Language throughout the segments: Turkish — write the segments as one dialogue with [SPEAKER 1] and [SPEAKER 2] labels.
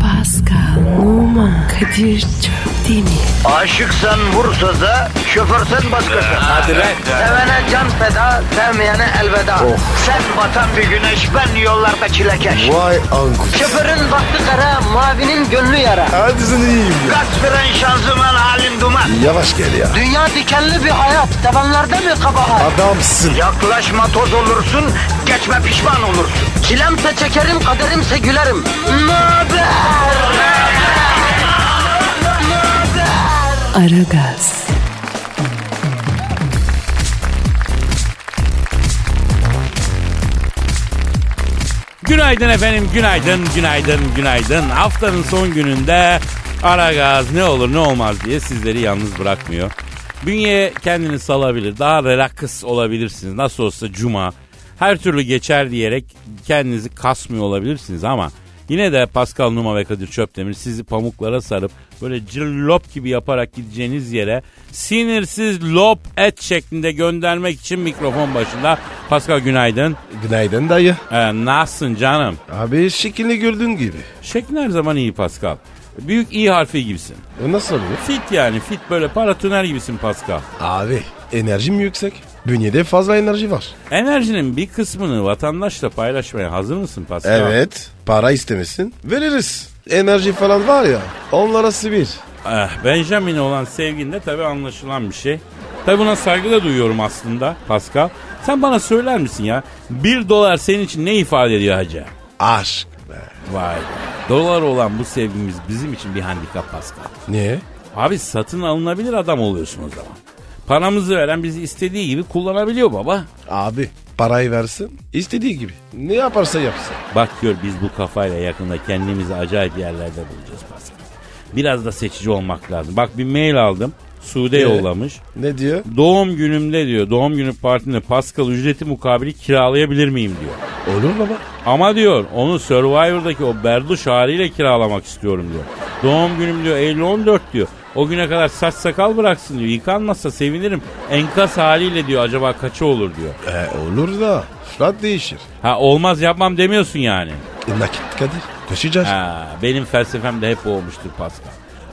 [SPEAKER 1] Pascal, Oman, Kadir çok değil mi?
[SPEAKER 2] Aşıksan vursa da, şoförsen başkasın.
[SPEAKER 3] Hadi lan. Oh.
[SPEAKER 2] Sevene can feda, sevmeyene elveda. Sen batan bir güneş, ben yollarda çilekeş.
[SPEAKER 4] Vay anku.
[SPEAKER 2] Şoförün baktı kara, mavinin gönlü yara.
[SPEAKER 4] Hadi sen iyiyim ya.
[SPEAKER 2] Kasperen şanzıman halin duman.
[SPEAKER 4] Yavaş gel ya.
[SPEAKER 2] Dünya dikenli bir hayat, sevenlerde mi kabahar?
[SPEAKER 4] Adamsın.
[SPEAKER 2] Yaklaşma toz olursun, geçme pişman olursun. Çilemse çekerim, kaderimse gülerim. Möber!
[SPEAKER 1] Aragaz,
[SPEAKER 3] Günaydın efendim, günaydın, günaydın, günaydın. Haftanın son gününde ara gaz ne olur ne olmaz diye sizleri yalnız bırakmıyor. Bünye kendini salabilir, daha relax olabilirsiniz. Nasıl olsa cuma, her türlü geçer diyerek kendinizi kasmıyor olabilirsiniz ama... Yine de Pascal Numa ve Kadir Çöptemir sizi pamuklara sarıp böyle cillop gibi yaparak gideceğiniz yere sinirsiz lop et şeklinde göndermek için mikrofon başında. Pascal günaydın.
[SPEAKER 4] Günaydın dayı.
[SPEAKER 3] Ee, nasılsın canım?
[SPEAKER 4] Abi şekilli gördüğün gibi.
[SPEAKER 3] Şeklin her zaman iyi Pascal. Büyük iyi harfi gibisin.
[SPEAKER 4] O nasıl oluyor?
[SPEAKER 3] Fit yani fit böyle paratoner gibisin Pascal.
[SPEAKER 4] Abi enerjim yüksek. Bünyede fazla enerji var.
[SPEAKER 3] Enerjinin bir kısmını vatandaşla paylaşmaya hazır mısın Pascal?
[SPEAKER 4] Evet. Para istemesin. Veririz. Enerji falan var ya. Onlara sibir.
[SPEAKER 3] Eh, Benjamin'e olan sevgin de tabii anlaşılan bir şey. Tabii buna saygı da duyuyorum aslında Pascal. Sen bana söyler misin ya? Bir dolar senin için ne ifade ediyor hacı?
[SPEAKER 4] Aşk be.
[SPEAKER 3] Vay be. Dolar olan bu sevgimiz bizim için bir handikap Pascal.
[SPEAKER 4] Niye?
[SPEAKER 3] Abi satın alınabilir adam oluyorsun o zaman. Paramızı veren bizi istediği gibi kullanabiliyor baba.
[SPEAKER 4] Abi parayı versin istediği gibi. Ne yaparsa yapsın.
[SPEAKER 3] Bak gör biz bu kafayla yakında kendimizi acayip yerlerde bulacağız Pascal. Biraz da seçici olmak lazım. Bak bir mail aldım. Sude yollamış.
[SPEAKER 4] Ne diyor?
[SPEAKER 3] Doğum günümde diyor doğum günü partimde Pascal ücreti mukabili kiralayabilir miyim diyor.
[SPEAKER 4] Olur baba.
[SPEAKER 3] Ama diyor onu Survivor'daki o berduş haliyle kiralamak istiyorum diyor. Doğum günüm diyor Eylül 14 diyor. O güne kadar saç sakal bıraksın diyor. Yıkanmazsa sevinirim. Enkaz haliyle diyor acaba kaçı olur diyor.
[SPEAKER 4] E, olur da fiyat değişir.
[SPEAKER 3] Ha olmaz yapmam demiyorsun yani.
[SPEAKER 4] E, nakit Kadir. Koşacağız.
[SPEAKER 3] Ha, benim felsefem de hep o olmuştur Pascal.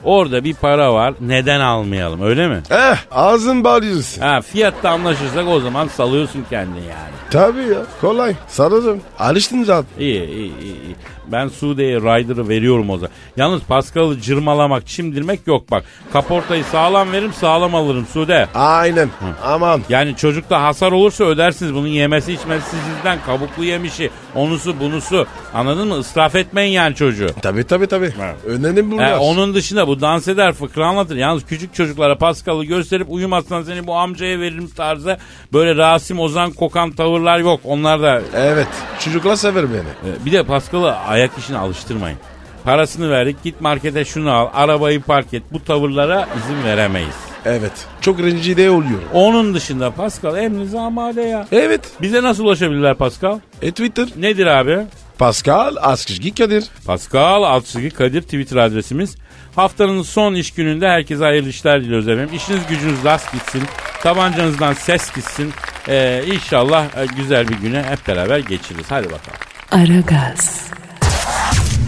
[SPEAKER 3] Orada bir para var neden almayalım öyle mi?
[SPEAKER 4] Eh ağzın bağlıyorsun.
[SPEAKER 3] Ha fiyatta anlaşırsak o zaman salıyorsun kendini yani.
[SPEAKER 4] Tabii ya kolay sarılırım. Alıştın zaten.
[SPEAKER 3] İyi iyi iyi. iyi. Ben Sude'ye Ryder'ı veriyorum o zaman. Yalnız Pascal'ı cırmalamak, çimdirmek yok bak. Kaportayı sağlam veririm sağlam alırım Sude.
[SPEAKER 4] Aynen aman.
[SPEAKER 3] Yani çocukta hasar olursa ödersiniz. Bunun yemesi içmesi sizden kabuklu yemişi. Onusu bunusu. Anladın mı? Israf etmeyin yani çocuğu.
[SPEAKER 4] Tabii tabii tabii.
[SPEAKER 3] Ha.
[SPEAKER 4] Önemli bunlar.
[SPEAKER 3] He, onun dışında bu dans eder fıkra anlatır. Yalnız küçük çocuklara Paskal'ı gösterip uyumazsan seni bu amcaya veririm tarzı böyle Rasim Ozan kokan tavırlar yok. Onlar da
[SPEAKER 4] Evet çocuklar sever beni.
[SPEAKER 3] Ee, Bir de Paskal'ı ayak işine alıştırmayın. Parasını verdik git markete şunu al arabayı park et bu tavırlara izin veremeyiz.
[SPEAKER 4] Evet çok rencide oluyorum.
[SPEAKER 3] Onun dışında Pascal emrinize amade ya.
[SPEAKER 4] Evet.
[SPEAKER 3] Bize nasıl ulaşabilirler Pascal?
[SPEAKER 4] E Twitter.
[SPEAKER 3] Nedir abi?
[SPEAKER 4] Pascal Askışgi Kadir.
[SPEAKER 3] Pascal Altçızgi Kadir Twitter adresimiz. Haftanın son iş gününde herkese hayırlı işler diliyoruz efendim. İşiniz gücünüz rast gitsin. Tabancanızdan ses gitsin. Ee, inşallah e, güzel bir güne hep beraber geçiririz. Hadi bakalım.
[SPEAKER 1] Aragaz,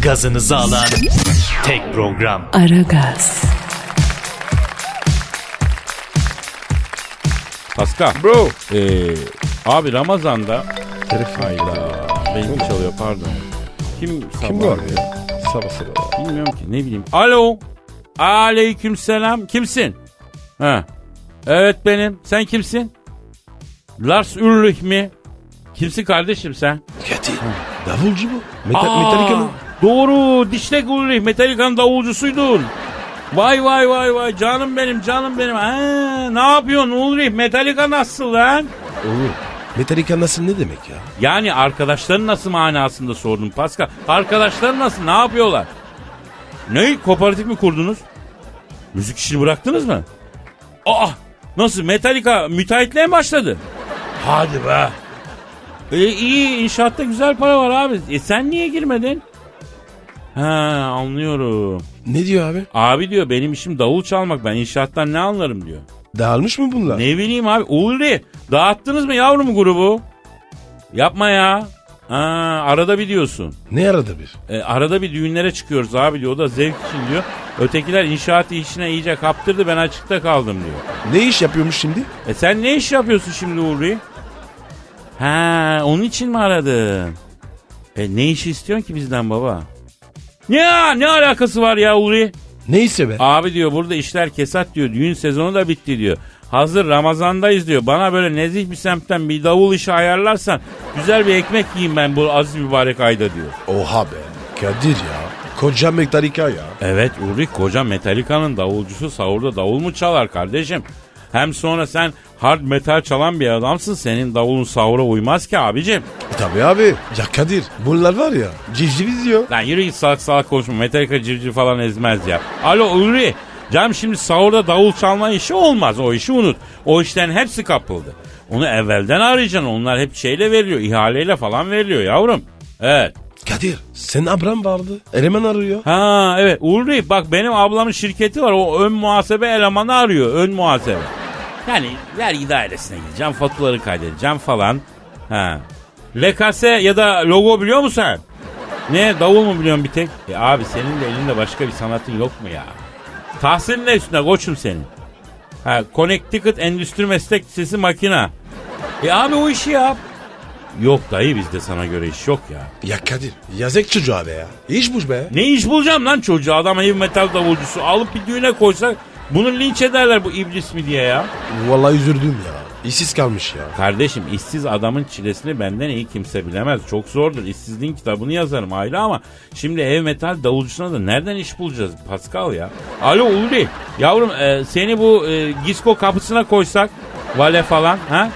[SPEAKER 5] gazınızı alan tek program.
[SPEAKER 1] Aragaz,
[SPEAKER 3] Pascal.
[SPEAKER 4] Bro.
[SPEAKER 3] Ee, abi Ramazan'da Hayda. Benim çalıyor pardon. Kim sabah?
[SPEAKER 4] Kim bu abi ya? Sabah sabah.
[SPEAKER 3] Bilmiyorum ki ne bileyim. Alo. Aleyküm selam. Kimsin? Ha. Evet benim. Sen kimsin? Lars Ulrich mi? Kimsin kardeşim sen?
[SPEAKER 4] Kadir. Davulcu bu.
[SPEAKER 3] Aa,
[SPEAKER 4] Meta Metallica mı?
[SPEAKER 3] Doğru. Dişlek Ulrich. Metallica'nın davulcusuydun. Vay vay vay vay. Canım benim canım benim. Ha, ne yapıyorsun Ulrich? Metallica nasıl lan?
[SPEAKER 4] Olur. Metallica nasıl ne demek ya?
[SPEAKER 3] Yani arkadaşların nasıl manasında sordum Pascal. Arkadaşların nasıl? Ne yapıyorlar? Ne? Kooperatif mi kurdunuz? Müzik işini bıraktınız mı? Aa! Nasıl? Metallica müteahhitliğe mi başladı? Hadi be. E, iyi inşaatta güzel para var abi. E, sen niye girmedin? Ha anlıyorum.
[SPEAKER 4] Ne diyor abi?
[SPEAKER 3] Abi diyor benim işim davul çalmak ben inşaattan ne anlarım diyor.
[SPEAKER 4] Dağılmış mı bunlar?
[SPEAKER 3] Ne bileyim abi Ulri dağıttınız mı yavrum grubu? Yapma ya. Ha, arada bir diyorsun.
[SPEAKER 4] Ne arada bir?
[SPEAKER 3] E, arada bir düğünlere çıkıyoruz abi diyor. O da zevk için diyor. Ötekiler inşaat işine iyice kaptırdı ben açıkta kaldım diyor.
[SPEAKER 4] Ne iş yapıyormuş şimdi?
[SPEAKER 3] E sen ne iş yapıyorsun şimdi Uğur Bey? Ha onun için mi aradın? E ne iş istiyorsun ki bizden baba? Ya ne alakası var ya Uğur'u?
[SPEAKER 4] Neyse be.
[SPEAKER 3] Abi diyor burada işler kesat diyor. Düğün sezonu da bitti diyor. Hazır Ramazan'dayız diyor. Bana böyle nezih bir semtten bir davul işi ayarlarsan güzel bir ekmek yiyeyim ben bu aziz mübarek ayda diyor.
[SPEAKER 4] Oha be. Kadir ya. Koca Metallica ya.
[SPEAKER 3] Evet Ulrik koca Metallica'nın davulcusu sahurda davul mu çalar kardeşim? Hem sonra sen hard metal çalan bir adamsın. Senin davulun sahura uymaz ki abicim.
[SPEAKER 4] Tabii abi. Ya Kadir bunlar var ya civciviz ya.
[SPEAKER 3] Lan yürü git salak salak konuşma. Metallica civciv falan ezmez ya. Alo Ulri. Cam şimdi sahurda davul çalma işi olmaz. O işi unut. O işten hepsi kapıldı. Onu evvelden arayacaksın. Onlar hep şeyle veriliyor. ihaleyle falan veriliyor yavrum. Evet.
[SPEAKER 4] Kadir senin abram vardı. Eleman arıyor.
[SPEAKER 3] Ha evet Ulri bak benim ablamın şirketi var o ön muhasebe elemanı arıyor ön muhasebe. Yani vergi dairesine gideceğim faturaları kaydedeceğim falan. Ha. Lekase ya da logo biliyor musun sen? Ne davul mu biliyorsun bir tek? E abi senin de elinde başka bir sanatın yok mu ya? Tahsilin ne üstüne koçum senin? Ha Connecticut Endüstri Meslek Lisesi makina. E abi o işi yap. Yok dayı bizde sana göre iş yok ya.
[SPEAKER 4] Ya Kadir yazık çocuğa be ya. İş bu be.
[SPEAKER 3] Ne iş bulacağım lan çocuğa? Adam heavy metal davulcusu. Alıp bir düğüne koysak bunu linç ederler bu iblis mi diye ya.
[SPEAKER 4] Vallahi üzüldüm ya. İşsiz kalmış ya.
[SPEAKER 3] Kardeşim işsiz adamın çilesini benden iyi kimse bilemez. Çok zordur. İşsizliğin kitabını yazarım aile ama şimdi ev metal davulcusuna da nereden iş bulacağız Pascal ya? Alo Ulri yavrum e, seni bu e, disco kapısına koysak vale falan ha?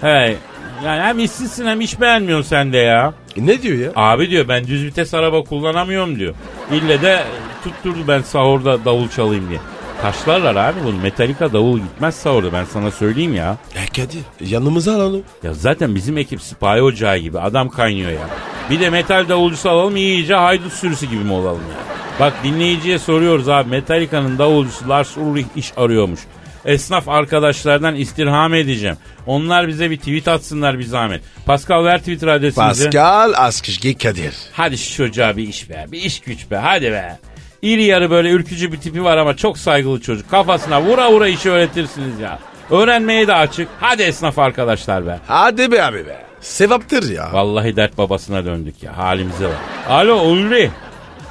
[SPEAKER 3] Hey yani hem işsizsin hem iş beğenmiyorsun sen de ya.
[SPEAKER 4] E ne diyor ya?
[SPEAKER 3] Abi diyor ben düz vites araba kullanamıyorum diyor. İlle de tutturdu ben sahurda davul çalayım diye. Taşlarlar abi bunu. Metallica davul gitmez sahurda ben sana söyleyeyim ya.
[SPEAKER 4] Ya Kadir yanımıza alalım.
[SPEAKER 3] Ya zaten bizim ekip sipahi ocağı gibi adam kaynıyor ya. Bir de metal davulcusu alalım iyice haydut sürüsü gibi mi olalım ya? Bak dinleyiciye soruyoruz abi Metallica'nın davulcusu Lars Ulrich iş arıyormuş. Esnaf arkadaşlardan istirham edeceğim. Onlar bize bir tweet atsınlar bir zahmet. Pascal ver Twitter adresimizi.
[SPEAKER 4] Pascal Askışgi Kadir.
[SPEAKER 3] Hadi şu çocuğa bir iş be. Bir iş güç be. Hadi be. İri yarı böyle ürkücü bir tipi var ama çok saygılı çocuk. Kafasına vura vura işi öğretirsiniz ya. Öğrenmeye de açık. Hadi esnaf arkadaşlar be.
[SPEAKER 4] Hadi be abi be. Sevaptır ya.
[SPEAKER 3] Vallahi dert babasına döndük ya. Halimize bak. Alo Ulri.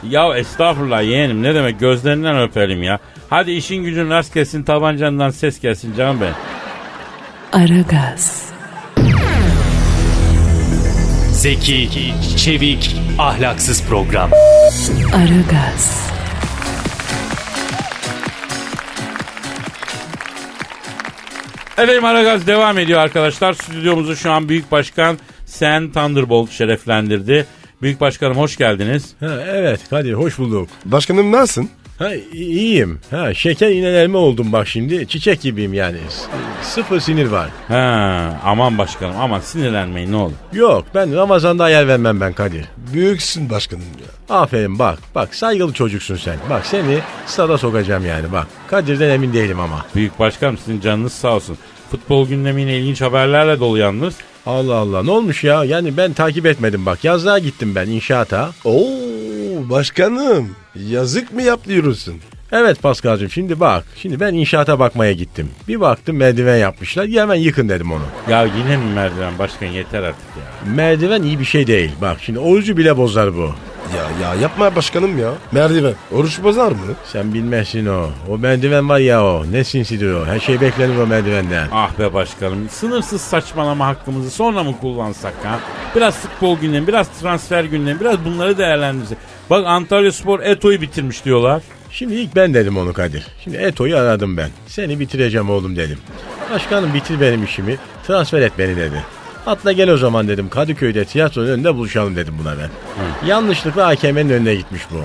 [SPEAKER 3] Ya estağfurullah yeğenim ne demek gözlerinden öpelim ya. Hadi işin gücün rast gelsin tabancandan ses gelsin canım benim.
[SPEAKER 1] Aragaz,
[SPEAKER 5] Zeki, çevik, ahlaksız program.
[SPEAKER 1] Aragaz,
[SPEAKER 3] Efendim Aragaz devam ediyor arkadaşlar. Stüdyomuzu şu an Büyük Başkan Sen Thunderbolt şereflendirdi. Büyük Başkanım hoş geldiniz.
[SPEAKER 6] Ha, evet Kadir hoş bulduk.
[SPEAKER 4] Başkanım nasılsın?
[SPEAKER 6] Ha, i- iyiyim. Ha, şeker inelerime oldum bak şimdi. Çiçek gibiyim yani. S- sıfır sinir var.
[SPEAKER 3] Ha, aman başkanım aman sinirlenmeyin ne olur.
[SPEAKER 6] Yok ben Ramazan'da ayar vermem ben Kadir.
[SPEAKER 4] Büyüksün başkanım ya.
[SPEAKER 6] Aferin bak. Bak saygılı çocuksun sen. Bak seni stada sokacağım yani bak. Kadir'den emin değilim ama.
[SPEAKER 3] Büyük başkanım sizin canınız sağ olsun. Futbol gündemiyle ilginç haberlerle dolu yalnız.
[SPEAKER 6] Allah Allah ne olmuş ya? Yani ben takip etmedim bak. Yazlığa gittim ben inşaata.
[SPEAKER 4] Oo başkanım. Yazık mı yapıyorsun?
[SPEAKER 6] Evet Paskal'cığım şimdi bak. Şimdi ben inşaata bakmaya gittim. Bir baktım merdiven yapmışlar. Hemen yıkın dedim onu.
[SPEAKER 3] Ya yine mi merdiven başkan yeter artık ya.
[SPEAKER 6] Merdiven iyi bir şey değil. Bak şimdi orucu bile bozar bu.
[SPEAKER 4] Ya ya yapma başkanım ya. Merdiven. Oruç bozar mı?
[SPEAKER 6] Sen bilmezsin o. O merdiven var ya o. Ne sinsidir o. Her şey beklenir o merdivenden.
[SPEAKER 3] Ah be başkanım sınırsız saçmalama hakkımızı sonra mı kullansak ha? Biraz futbol gündemi biraz transfer gündemi biraz bunları değerlendirsek. Bak Antalya Spor Eto'yu bitirmiş diyorlar.
[SPEAKER 6] Şimdi ilk ben dedim onu Kadir. Şimdi Eto'yu aradım ben. Seni bitireceğim oğlum dedim. Başkanım bitir benim işimi. Transfer et beni dedi. Atla gel o zaman dedim. Kadıköy'de tiyatronun önünde buluşalım dedim buna ben. Yanlışlıkla AKM'nin önüne gitmiş bu.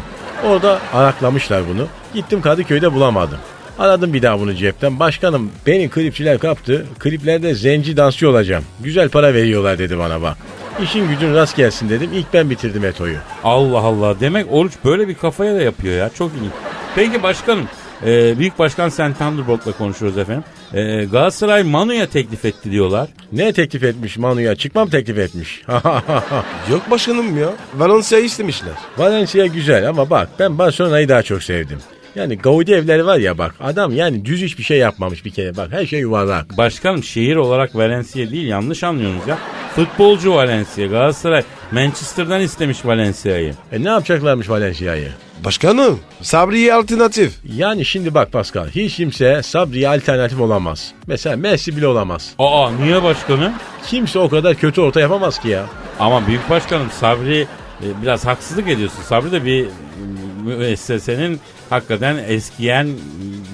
[SPEAKER 6] Orada araklamışlar bunu. Gittim Kadıköy'de bulamadım. Aradım bir daha bunu cepten. Başkanım beni klipçiler kaptı. Kliplerde zenci dansçı olacağım. Güzel para veriyorlar dedi bana bak. İşin gücün rast gelsin dedim. İlk ben bitirdim Eto'yu.
[SPEAKER 3] Allah Allah demek oruç böyle bir kafaya da yapıyor ya çok ilginç. Peki başkanım Ee, Büyük Başkan Sen Thunderbolt'la konuşuyoruz efendim. Ee, Galatasaray Manu'ya teklif etti diyorlar.
[SPEAKER 6] Ne teklif etmiş Manu'ya? Çıkmam teklif etmiş.
[SPEAKER 4] Yok başkanım ya. Valencia'yı istemişler.
[SPEAKER 6] Valencia güzel ama bak ben Barcelona'yı daha çok sevdim. Yani Gaudi evleri var ya bak adam yani düz hiçbir şey yapmamış bir kere bak her şey yuvarlak.
[SPEAKER 3] Başkanım şehir olarak Valencia değil yanlış anlıyorsunuz ya. Futbolcu Valencia Galatasaray Manchester'dan istemiş Valencia'yı.
[SPEAKER 6] E ne yapacaklarmış Valencia'yı?
[SPEAKER 4] Başkanım Sabri'ye alternatif.
[SPEAKER 6] Yani şimdi bak Pascal hiç kimse Sabri'ye alternatif olamaz. Mesela Messi bile olamaz.
[SPEAKER 3] Aa niye başkanım?
[SPEAKER 6] Kimse o kadar kötü orta yapamaz ki ya.
[SPEAKER 3] Ama büyük başkanım Sabri e, biraz haksızlık ediyorsun. Sabri de bir müessesenin hakikaten eskiyen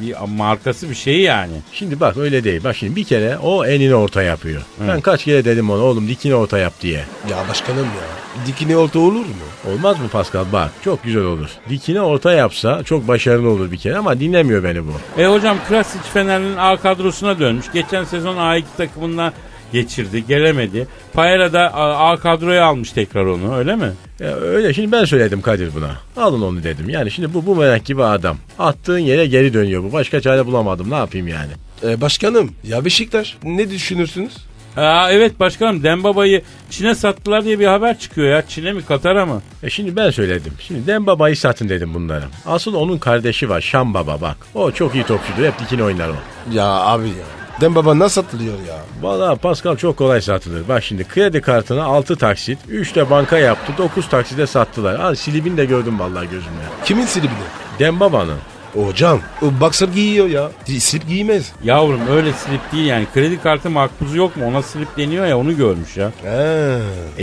[SPEAKER 3] bir markası bir şey yani.
[SPEAKER 6] Şimdi bak öyle değil. Bak şimdi bir kere o elini orta yapıyor. Ben kaç kere dedim ona oğlum dikine orta yap diye.
[SPEAKER 4] Ya başkanım ya. Dikine orta olur mu?
[SPEAKER 6] Olmaz mı Pascal? Bak çok güzel olur. Dikine orta yapsa çok başarılı olur bir kere ama dinlemiyor beni bu.
[SPEAKER 3] E hocam Krasic Fener'in A kadrosuna dönmüş. Geçen sezon A2 takımından geçirdi, gelemedi. Paella da A, A kadroya almış tekrar onu öyle mi?
[SPEAKER 6] Ya öyle şimdi ben söyledim Kadir buna. Alın onu dedim. Yani şimdi bu bu merak gibi adam. Attığın yere geri dönüyor bu. Başka çare bulamadım. Ne yapayım yani?
[SPEAKER 4] E, başkanım ya Beşiktaş ne düşünürsünüz?
[SPEAKER 3] Aa, evet başkanım Dembaba'yı Çin'e sattılar diye bir haber çıkıyor ya. Çin'e mi Katar'a mı?
[SPEAKER 6] E şimdi ben söyledim. Şimdi Dembaba'yı satın dedim bunlara. Asıl onun kardeşi var Şam Baba bak. O çok iyi topçudur. Hep dikine oynar o.
[SPEAKER 4] Ya abi ya. Dembaba nasıl satılıyor ya?
[SPEAKER 6] Valla Pascal çok kolay satılır. Bak şimdi kredi kartına 6 taksit, 3 de banka yaptı, 9 takside sattılar. Al silibini de gördüm vallahi gözümle.
[SPEAKER 4] Kimin silibini?
[SPEAKER 6] Dembaba'nın.
[SPEAKER 4] Hocam o boxer giyiyor ya. Silip giymez.
[SPEAKER 3] Yavrum öyle slip değil yani. Kredi kartı makbuzu yok mu? Ona slip deniyor ya onu görmüş ya.
[SPEAKER 4] He.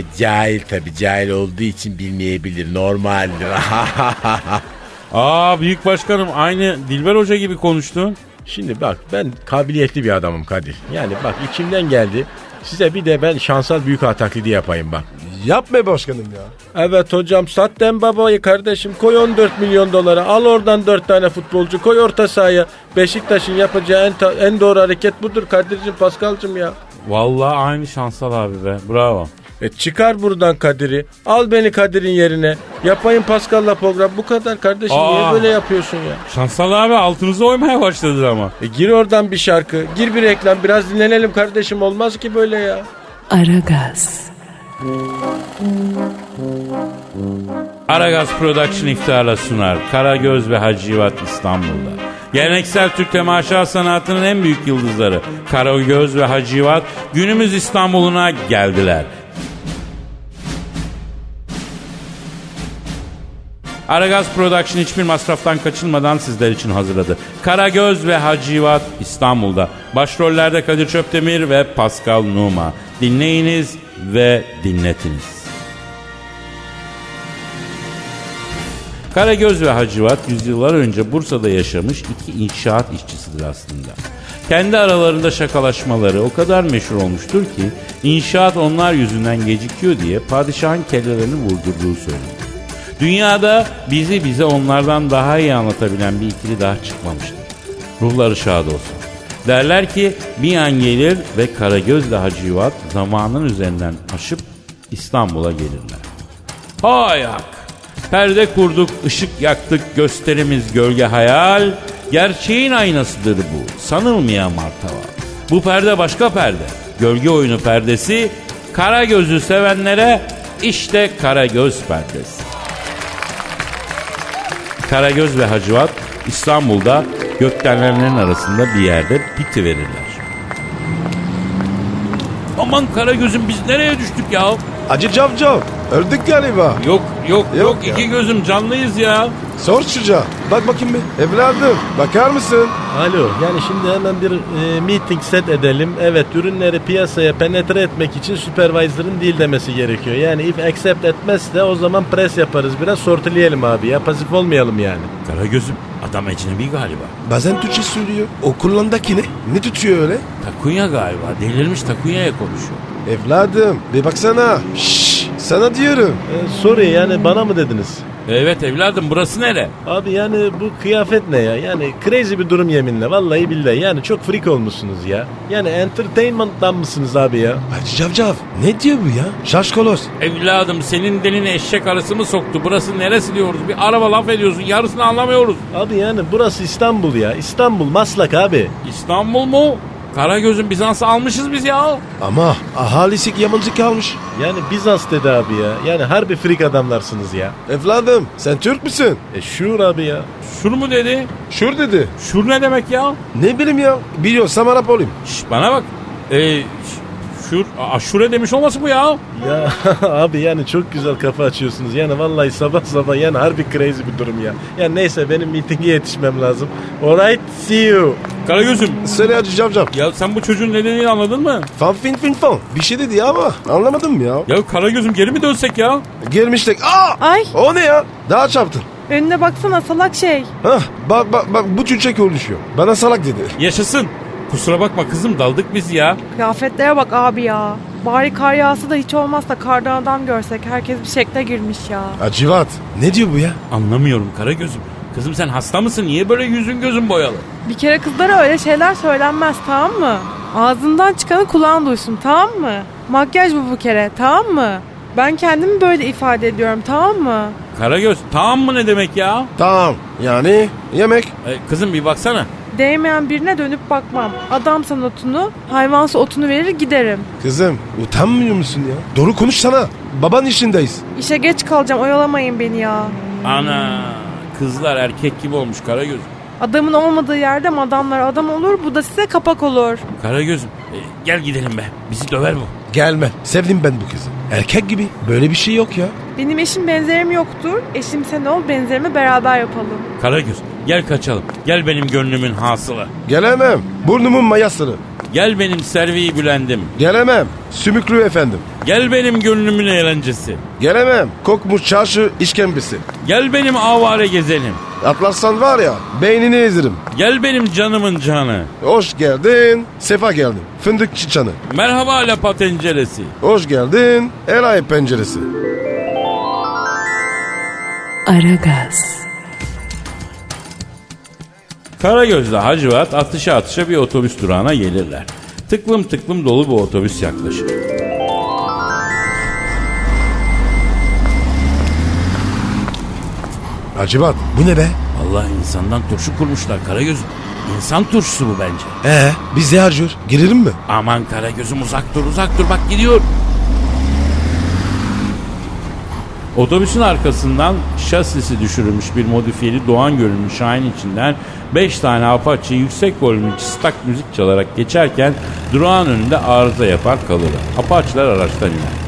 [SPEAKER 6] E cahil tabi cahil olduğu için bilmeyebilir normaldir.
[SPEAKER 3] Aa büyük başkanım aynı Dilber Hoca gibi konuştun.
[SPEAKER 6] Şimdi bak ben kabiliyetli bir adamım Kadir. Yani bak içimden geldi. Size bir de ben şansal büyük ağ taklidi yapayım bak.
[SPEAKER 4] Yapma başkanım ya.
[SPEAKER 6] Evet hocam sat Dembaba'yı kardeşim koy 14 milyon dolara al oradan 4 tane futbolcu koy orta sahaya. Beşiktaş'ın yapacağı en, ta- en doğru hareket budur Kadir'cim Paskal'cım ya.
[SPEAKER 3] Vallahi aynı şansal abi be. Bravo.
[SPEAKER 6] E çıkar buradan Kadir'i al beni Kadir'in yerine yapayım Paskal'la program bu kadar kardeşim
[SPEAKER 3] Aa.
[SPEAKER 6] niye böyle yapıyorsun ya.
[SPEAKER 3] Şansal abi altımıza oymaya başladı ama.
[SPEAKER 6] E gir oradan bir şarkı gir bir reklam biraz dinlenelim kardeşim olmaz ki böyle ya.
[SPEAKER 1] Aragaz,
[SPEAKER 3] Aragaz Production iftarla sunar. Karagöz ve Hacivat İstanbul'da. Geleneksel Türk temaşa sanatının en büyük yıldızları Karagöz ve Hacivat günümüz İstanbul'una geldiler. Aragaz Production hiçbir masraftan kaçınmadan sizler için hazırladı. Karagöz ve Hacivat İstanbul'da. Başrollerde Kadir Çöptemir ve Pascal Numa. Dinleyiniz ve dinletiniz. Karagöz ve Hacivat yüzyıllar önce Bursa'da yaşamış iki inşaat işçisidir aslında. Kendi aralarında şakalaşmaları o kadar meşhur olmuştur ki inşaat onlar yüzünden gecikiyor diye padişahın kellelerini vurdurduğu söylenir. Dünyada bizi bize onlardan daha iyi anlatabilen bir ikili daha çıkmamıştır. Ruhları şad olsun. Derler ki bir an gelir ve Karagözle Hacivat zamanın üzerinden aşıp İstanbul'a gelirler. Hay hak. Perde kurduk, ışık yaktık, gösterimiz gölge hayal. Gerçeğin aynasıdır bu, sanılmayan martava. Bu perde başka perde. Gölge oyunu perdesi, kara gözü sevenlere işte kara göz perdesi. Karagöz ve Hacivat İstanbul'da gökdelenlerin arasında bir yerde piti verirler. Aman Karagöz'üm biz nereye düştük ya?
[SPEAKER 4] Acı cavcav. Öldük galiba.
[SPEAKER 3] Yok yok yok,
[SPEAKER 4] Yok ya.
[SPEAKER 3] iki gözüm canlıyız ya.
[SPEAKER 4] Sor çocuğa. Bak bakayım bir. Evladım bakar mısın?
[SPEAKER 6] Alo yani şimdi hemen bir e, meeting set edelim. Evet ürünleri piyasaya penetre etmek için supervisor'ın değil demesi gerekiyor. Yani if accept etmezse o zaman pres yaparız biraz sortileyelim abi ya pasif olmayalım yani.
[SPEAKER 3] Karagöz'üm adam ecnebi galiba.
[SPEAKER 4] Bazen Türkçe söylüyor. Okullandaki ne? Ne tutuyor öyle?
[SPEAKER 3] Takunya galiba. Delirmiş Takunya'ya konuşuyor.
[SPEAKER 4] Evladım bir baksana. Şşş sana diyorum.
[SPEAKER 6] E, sorry yani bana mı dediniz?
[SPEAKER 3] Evet evladım burası nere?
[SPEAKER 6] Abi yani bu kıyafet ne ya? Yani crazy bir durum yeminle. Vallahi billahi yani çok freak olmuşsunuz ya. Yani entertainment'tan mısınız abi ya?
[SPEAKER 4] Hacı Cavcav ne diyor bu ya? Şaşkolos.
[SPEAKER 3] Evladım senin dilin eşek arısı mı soktu? Burası neresi diyoruz? Bir araba laf ediyorsun yarısını anlamıyoruz.
[SPEAKER 6] Abi yani burası İstanbul ya. İstanbul Maslak abi.
[SPEAKER 3] İstanbul mu? Karagöz'ün Bizans'ı almışız biz ya.
[SPEAKER 4] Ama ahalisi yabancı kalmış.
[SPEAKER 6] Yani Bizans dedi abi ya. Yani harbi freak adamlarsınız ya.
[SPEAKER 4] Evladım sen Türk müsün?
[SPEAKER 6] E şuur abi ya.
[SPEAKER 3] Şur mu dedi?
[SPEAKER 4] Şur dedi.
[SPEAKER 3] Şur ne demek ya?
[SPEAKER 4] Ne bileyim ya biliyorsam Arap olayım.
[SPEAKER 3] Şş, bana bak. Ee, ş- şur, Aa, şure demiş olmasın bu ya?
[SPEAKER 6] Ya abi yani çok güzel kafa açıyorsunuz. Yani vallahi sabah sabah yani harbi crazy bir durum ya. Yani neyse benim mitinge yetişmem lazım. Alright see you.
[SPEAKER 3] Karagöz'üm
[SPEAKER 4] Söyle Hacı Cavcav.
[SPEAKER 3] ya sen bu çocuğun nedenini anladın mı?
[SPEAKER 4] Fan fin fin fan. Bir şey dedi ya ama anlamadım ya.
[SPEAKER 3] Ya Karagöz'üm geri mi dönsek ya?
[SPEAKER 4] Girmiştik. Aa!
[SPEAKER 7] Ay
[SPEAKER 4] O ne ya? Daha çarptın.
[SPEAKER 7] önüne baksana salak şey.
[SPEAKER 4] Hah bak bak bak bu çocuk konuşuyor. Bana salak dedi.
[SPEAKER 3] Yaşasın. Kusura bakma kızım daldık biz ya.
[SPEAKER 7] Kıyafetlere bak abi ya. Bari kar yağsa da hiç olmazsa kardan adam görsek herkes bir şekle girmiş ya.
[SPEAKER 4] Acıvat. Ne diyor bu ya?
[SPEAKER 3] Anlamıyorum Karagöz'üm. Kızım sen hasta mısın? Niye böyle yüzün gözün boyalı?
[SPEAKER 7] Bir kere kızlara öyle şeyler söylenmez tamam mı? Ağzından çıkanı kulağın duysun tamam mı? Makyaj bu bu kere tamam mı? Ben kendimi böyle ifade ediyorum tamam mı?
[SPEAKER 3] Karagöz tamam mı ne demek ya?
[SPEAKER 4] Tamam. Yani yemek.
[SPEAKER 3] E, kızım bir baksana.
[SPEAKER 7] Değmeyen birine dönüp bakmam. Adamsa notunu, hayvansa otunu verir giderim.
[SPEAKER 4] Kızım utanmıyor musun ya? Doğru konuşsana. Baban işindeyiz.
[SPEAKER 7] İşe geç kalacağım oyalamayın beni ya.
[SPEAKER 3] Ana kızlar erkek gibi olmuş Karagöz.
[SPEAKER 7] Adamın olmadığı yerde adamlar adam olur bu da size kapak olur.
[SPEAKER 3] Karagöz'üm e, gel gidelim be. Bizi döver bu.
[SPEAKER 4] Gelme. Sevdim ben bu kızı. Erkek gibi. Böyle bir şey yok ya.
[SPEAKER 7] Benim eşim benzerim yoktur. Eşim sen ol benzerimi beraber yapalım.
[SPEAKER 3] Karagöz gel kaçalım. Gel benim gönlümün hasılı.
[SPEAKER 4] Gelemem. Burnumun mayasını.
[SPEAKER 3] Gel benim serviyi bülendim.
[SPEAKER 4] Gelemem. Sümüklü efendim.
[SPEAKER 3] Gel benim gönlümün eğlencesi.
[SPEAKER 4] Gelemem. Kokmuş çarşı işkembesi.
[SPEAKER 3] Gel benim avare gezelim.
[SPEAKER 4] Atlarsan var ya beynini ezerim.
[SPEAKER 3] Gel benim canımın canı.
[SPEAKER 4] Hoş geldin. Sefa geldin. Fındık çıçanı.
[SPEAKER 3] Merhaba la patenceresi.
[SPEAKER 4] Hoş geldin. El ayı penceresi.
[SPEAKER 1] Aragaz,
[SPEAKER 3] Karagöz'le Hacivat atışa atışa bir otobüs durağına gelirler. Tıklım tıklım dolu bir otobüs yaklaşır.
[SPEAKER 4] Acıbat bu ne be?
[SPEAKER 3] Allah insandan turşu kurmuşlar Karagöz'üm. İnsan turşusu bu bence.
[SPEAKER 4] Ee biz de harcıyor. Girelim mi?
[SPEAKER 3] Aman Karagöz'üm uzak dur uzak dur bak gidiyor. Otobüsün arkasından şasisi düşürülmüş bir modifiyeli Doğan görünmüş Şahin içinden 5 tane Apache yüksek volümlü çıstak müzik çalarak geçerken durağın önünde arıza yapar kalırlar. Apache'ler araçtan iner.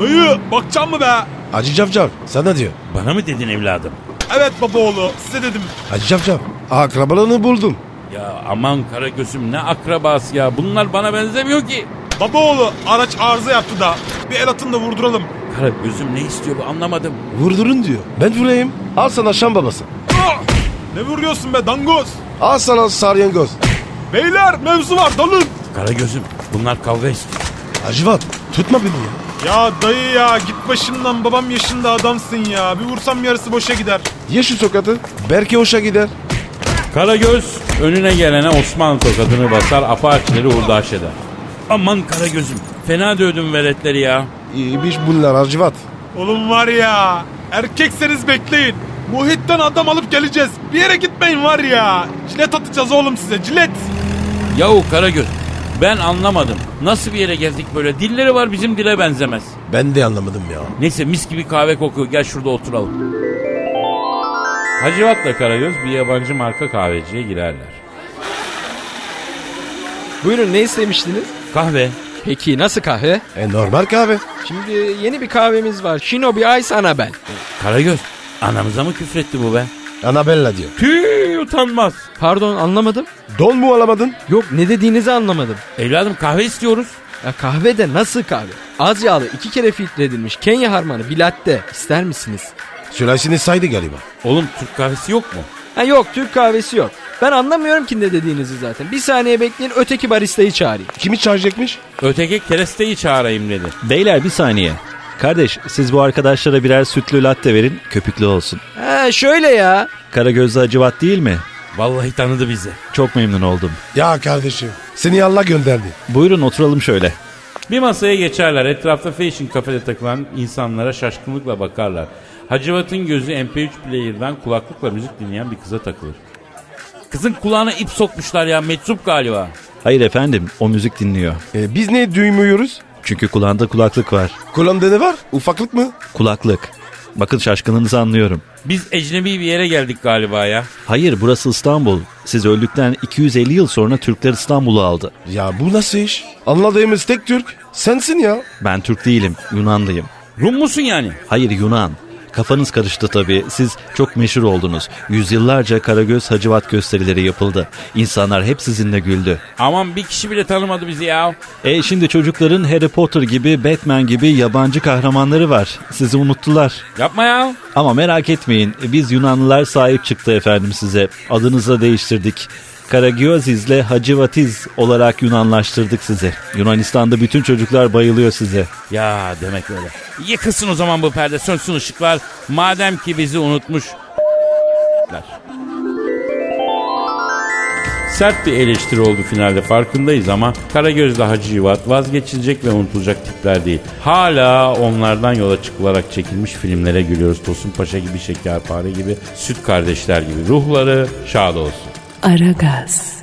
[SPEAKER 8] Dayı bakacağım mı be?
[SPEAKER 4] Acı Cavcav sana diyor.
[SPEAKER 3] Bana mı dedin evladım?
[SPEAKER 8] Evet baba oğlu size dedim.
[SPEAKER 4] Acı Cavcav akrabalarını buldum.
[SPEAKER 3] Ya aman Karagöz'üm ne akrabası ya bunlar bana benzemiyor ki.
[SPEAKER 8] Baba oğlu araç arıza yaptı da bir el atın da vurduralım.
[SPEAKER 3] Karagöz'üm ne istiyor bu anlamadım.
[SPEAKER 4] Vurdurun diyor. Ben vurayım. Al sana şam babası.
[SPEAKER 8] Ah! Ne vuruyorsun be dangoz?
[SPEAKER 4] Al sana saryangoz.
[SPEAKER 8] Beyler mevzu var dalın.
[SPEAKER 3] Karagöz'üm bunlar kavga istiyor.
[SPEAKER 4] Acıvat tutma beni ya.
[SPEAKER 8] Ya dayı ya git başımdan babam yaşında adamsın ya. Bir vursam yarısı boşa gider.
[SPEAKER 4] Ye şu sokatı. Belki hoşa gider.
[SPEAKER 3] Karagöz önüne gelene Osmanlı tokadını basar Apache'leri hurdaş eder. Aman Karagöz'üm fena dövdüm veletleri ya.
[SPEAKER 4] İyiymiş bunlar Acıvat.
[SPEAKER 8] Oğlum var ya erkekseniz bekleyin. Muhitten adam alıp geleceğiz. Bir yere gitmeyin var ya. Cilet atacağız oğlum size cilet.
[SPEAKER 3] Yahu Karagöz ben anlamadım. Nasıl bir yere geldik böyle? Dilleri var bizim dile benzemez.
[SPEAKER 4] Ben de anlamadım ya.
[SPEAKER 3] Neyse mis gibi kahve kokuyor. Gel şurada oturalım. Hacivat'la Karagöz bir yabancı marka kahveciye girerler.
[SPEAKER 9] Buyurun ne istemiştiniz?
[SPEAKER 3] Kahve.
[SPEAKER 9] Peki nasıl kahve?
[SPEAKER 4] E normal kahve.
[SPEAKER 9] Şimdi yeni bir kahvemiz var. Shinobi Ice Anabel.
[SPEAKER 3] Karagöz anamıza mı küfretti bu be?
[SPEAKER 4] Anabella diyor.
[SPEAKER 3] Tüy utanmaz.
[SPEAKER 9] Pardon anlamadım.
[SPEAKER 4] Don mu alamadın?
[SPEAKER 9] Yok ne dediğinizi anlamadım.
[SPEAKER 3] Evladım kahve istiyoruz.
[SPEAKER 9] Ya kahve de nasıl kahve? Az yağlı iki kere filtredilmiş Kenya harmanı bir latte. İster misiniz?
[SPEAKER 4] Sülalesini saydı galiba.
[SPEAKER 3] Oğlum Türk kahvesi yok mu?
[SPEAKER 9] Ha yok Türk kahvesi yok. Ben anlamıyorum ki ne dediğinizi zaten. Bir saniye bekleyin öteki baristayı çağırayım.
[SPEAKER 4] Kimi çağıracakmış?
[SPEAKER 3] Öteki keresteyi çağırayım dedi.
[SPEAKER 10] Beyler bir saniye. Kardeş siz bu arkadaşlara birer sütlü latte verin köpüklü olsun.
[SPEAKER 9] Ha şöyle ya.
[SPEAKER 10] Kara gözlü acıvat değil mi?
[SPEAKER 3] Vallahi tanıdı bizi.
[SPEAKER 10] Çok memnun oldum.
[SPEAKER 4] Ya kardeşim seni Allah gönderdi.
[SPEAKER 10] Buyurun oturalım şöyle.
[SPEAKER 3] Bir masaya geçerler. Etrafta fashion kafede takılan insanlara şaşkınlıkla bakarlar. Hacivat'ın gözü MP3 player'dan kulaklıkla müzik dinleyen bir kıza takılır. Kızın kulağına ip sokmuşlar ya meczup galiba.
[SPEAKER 10] Hayır efendim o müzik dinliyor.
[SPEAKER 4] E, biz ne duymuyoruz?
[SPEAKER 10] Çünkü kulağında kulaklık var.
[SPEAKER 4] Kulağımda ne var? Ufaklık mı?
[SPEAKER 10] Kulaklık. Bakın şaşkınlığınızı anlıyorum.
[SPEAKER 3] Biz ecnebi bir yere geldik galiba ya.
[SPEAKER 10] Hayır burası İstanbul. Siz öldükten 250 yıl sonra Türkler İstanbul'u aldı.
[SPEAKER 4] Ya bu nasıl iş? Anladığımız tek Türk sensin ya.
[SPEAKER 10] Ben Türk değilim Yunanlıyım.
[SPEAKER 3] Rum musun yani?
[SPEAKER 10] Hayır Yunan. Kafanız karıştı tabii. Siz çok meşhur oldunuz. Yüzyıllarca Karagöz Hacivat gösterileri yapıldı. İnsanlar hep sizinle güldü.
[SPEAKER 3] Aman bir kişi bile tanımadı bizi ya.
[SPEAKER 10] E şimdi çocukların Harry Potter gibi, Batman gibi yabancı kahramanları var. Sizi unuttular.
[SPEAKER 3] Yapma ya.
[SPEAKER 10] Ama merak etmeyin. Biz Yunanlılar sahip çıktı efendim size. Adınızı da değiştirdik. Karagözizle ile Hacivatiz olarak Yunanlaştırdık sizi. Yunanistan'da bütün çocuklar bayılıyor size.
[SPEAKER 3] Ya demek öyle. Yıkılsın o zaman bu perde sönsün ışıklar. Madem ki bizi unutmuş. ler. Sert bir eleştiri oldu finalde farkındayız ama Karagöz'le Hacı Yivat vazgeçilecek ve unutulacak tipler değil. Hala onlardan yola çıkılarak çekilmiş filmlere gülüyoruz. Tosun Paşa gibi, Şekerpare gibi, Süt Kardeşler gibi. Ruhları şad olsun.
[SPEAKER 1] Aragaz.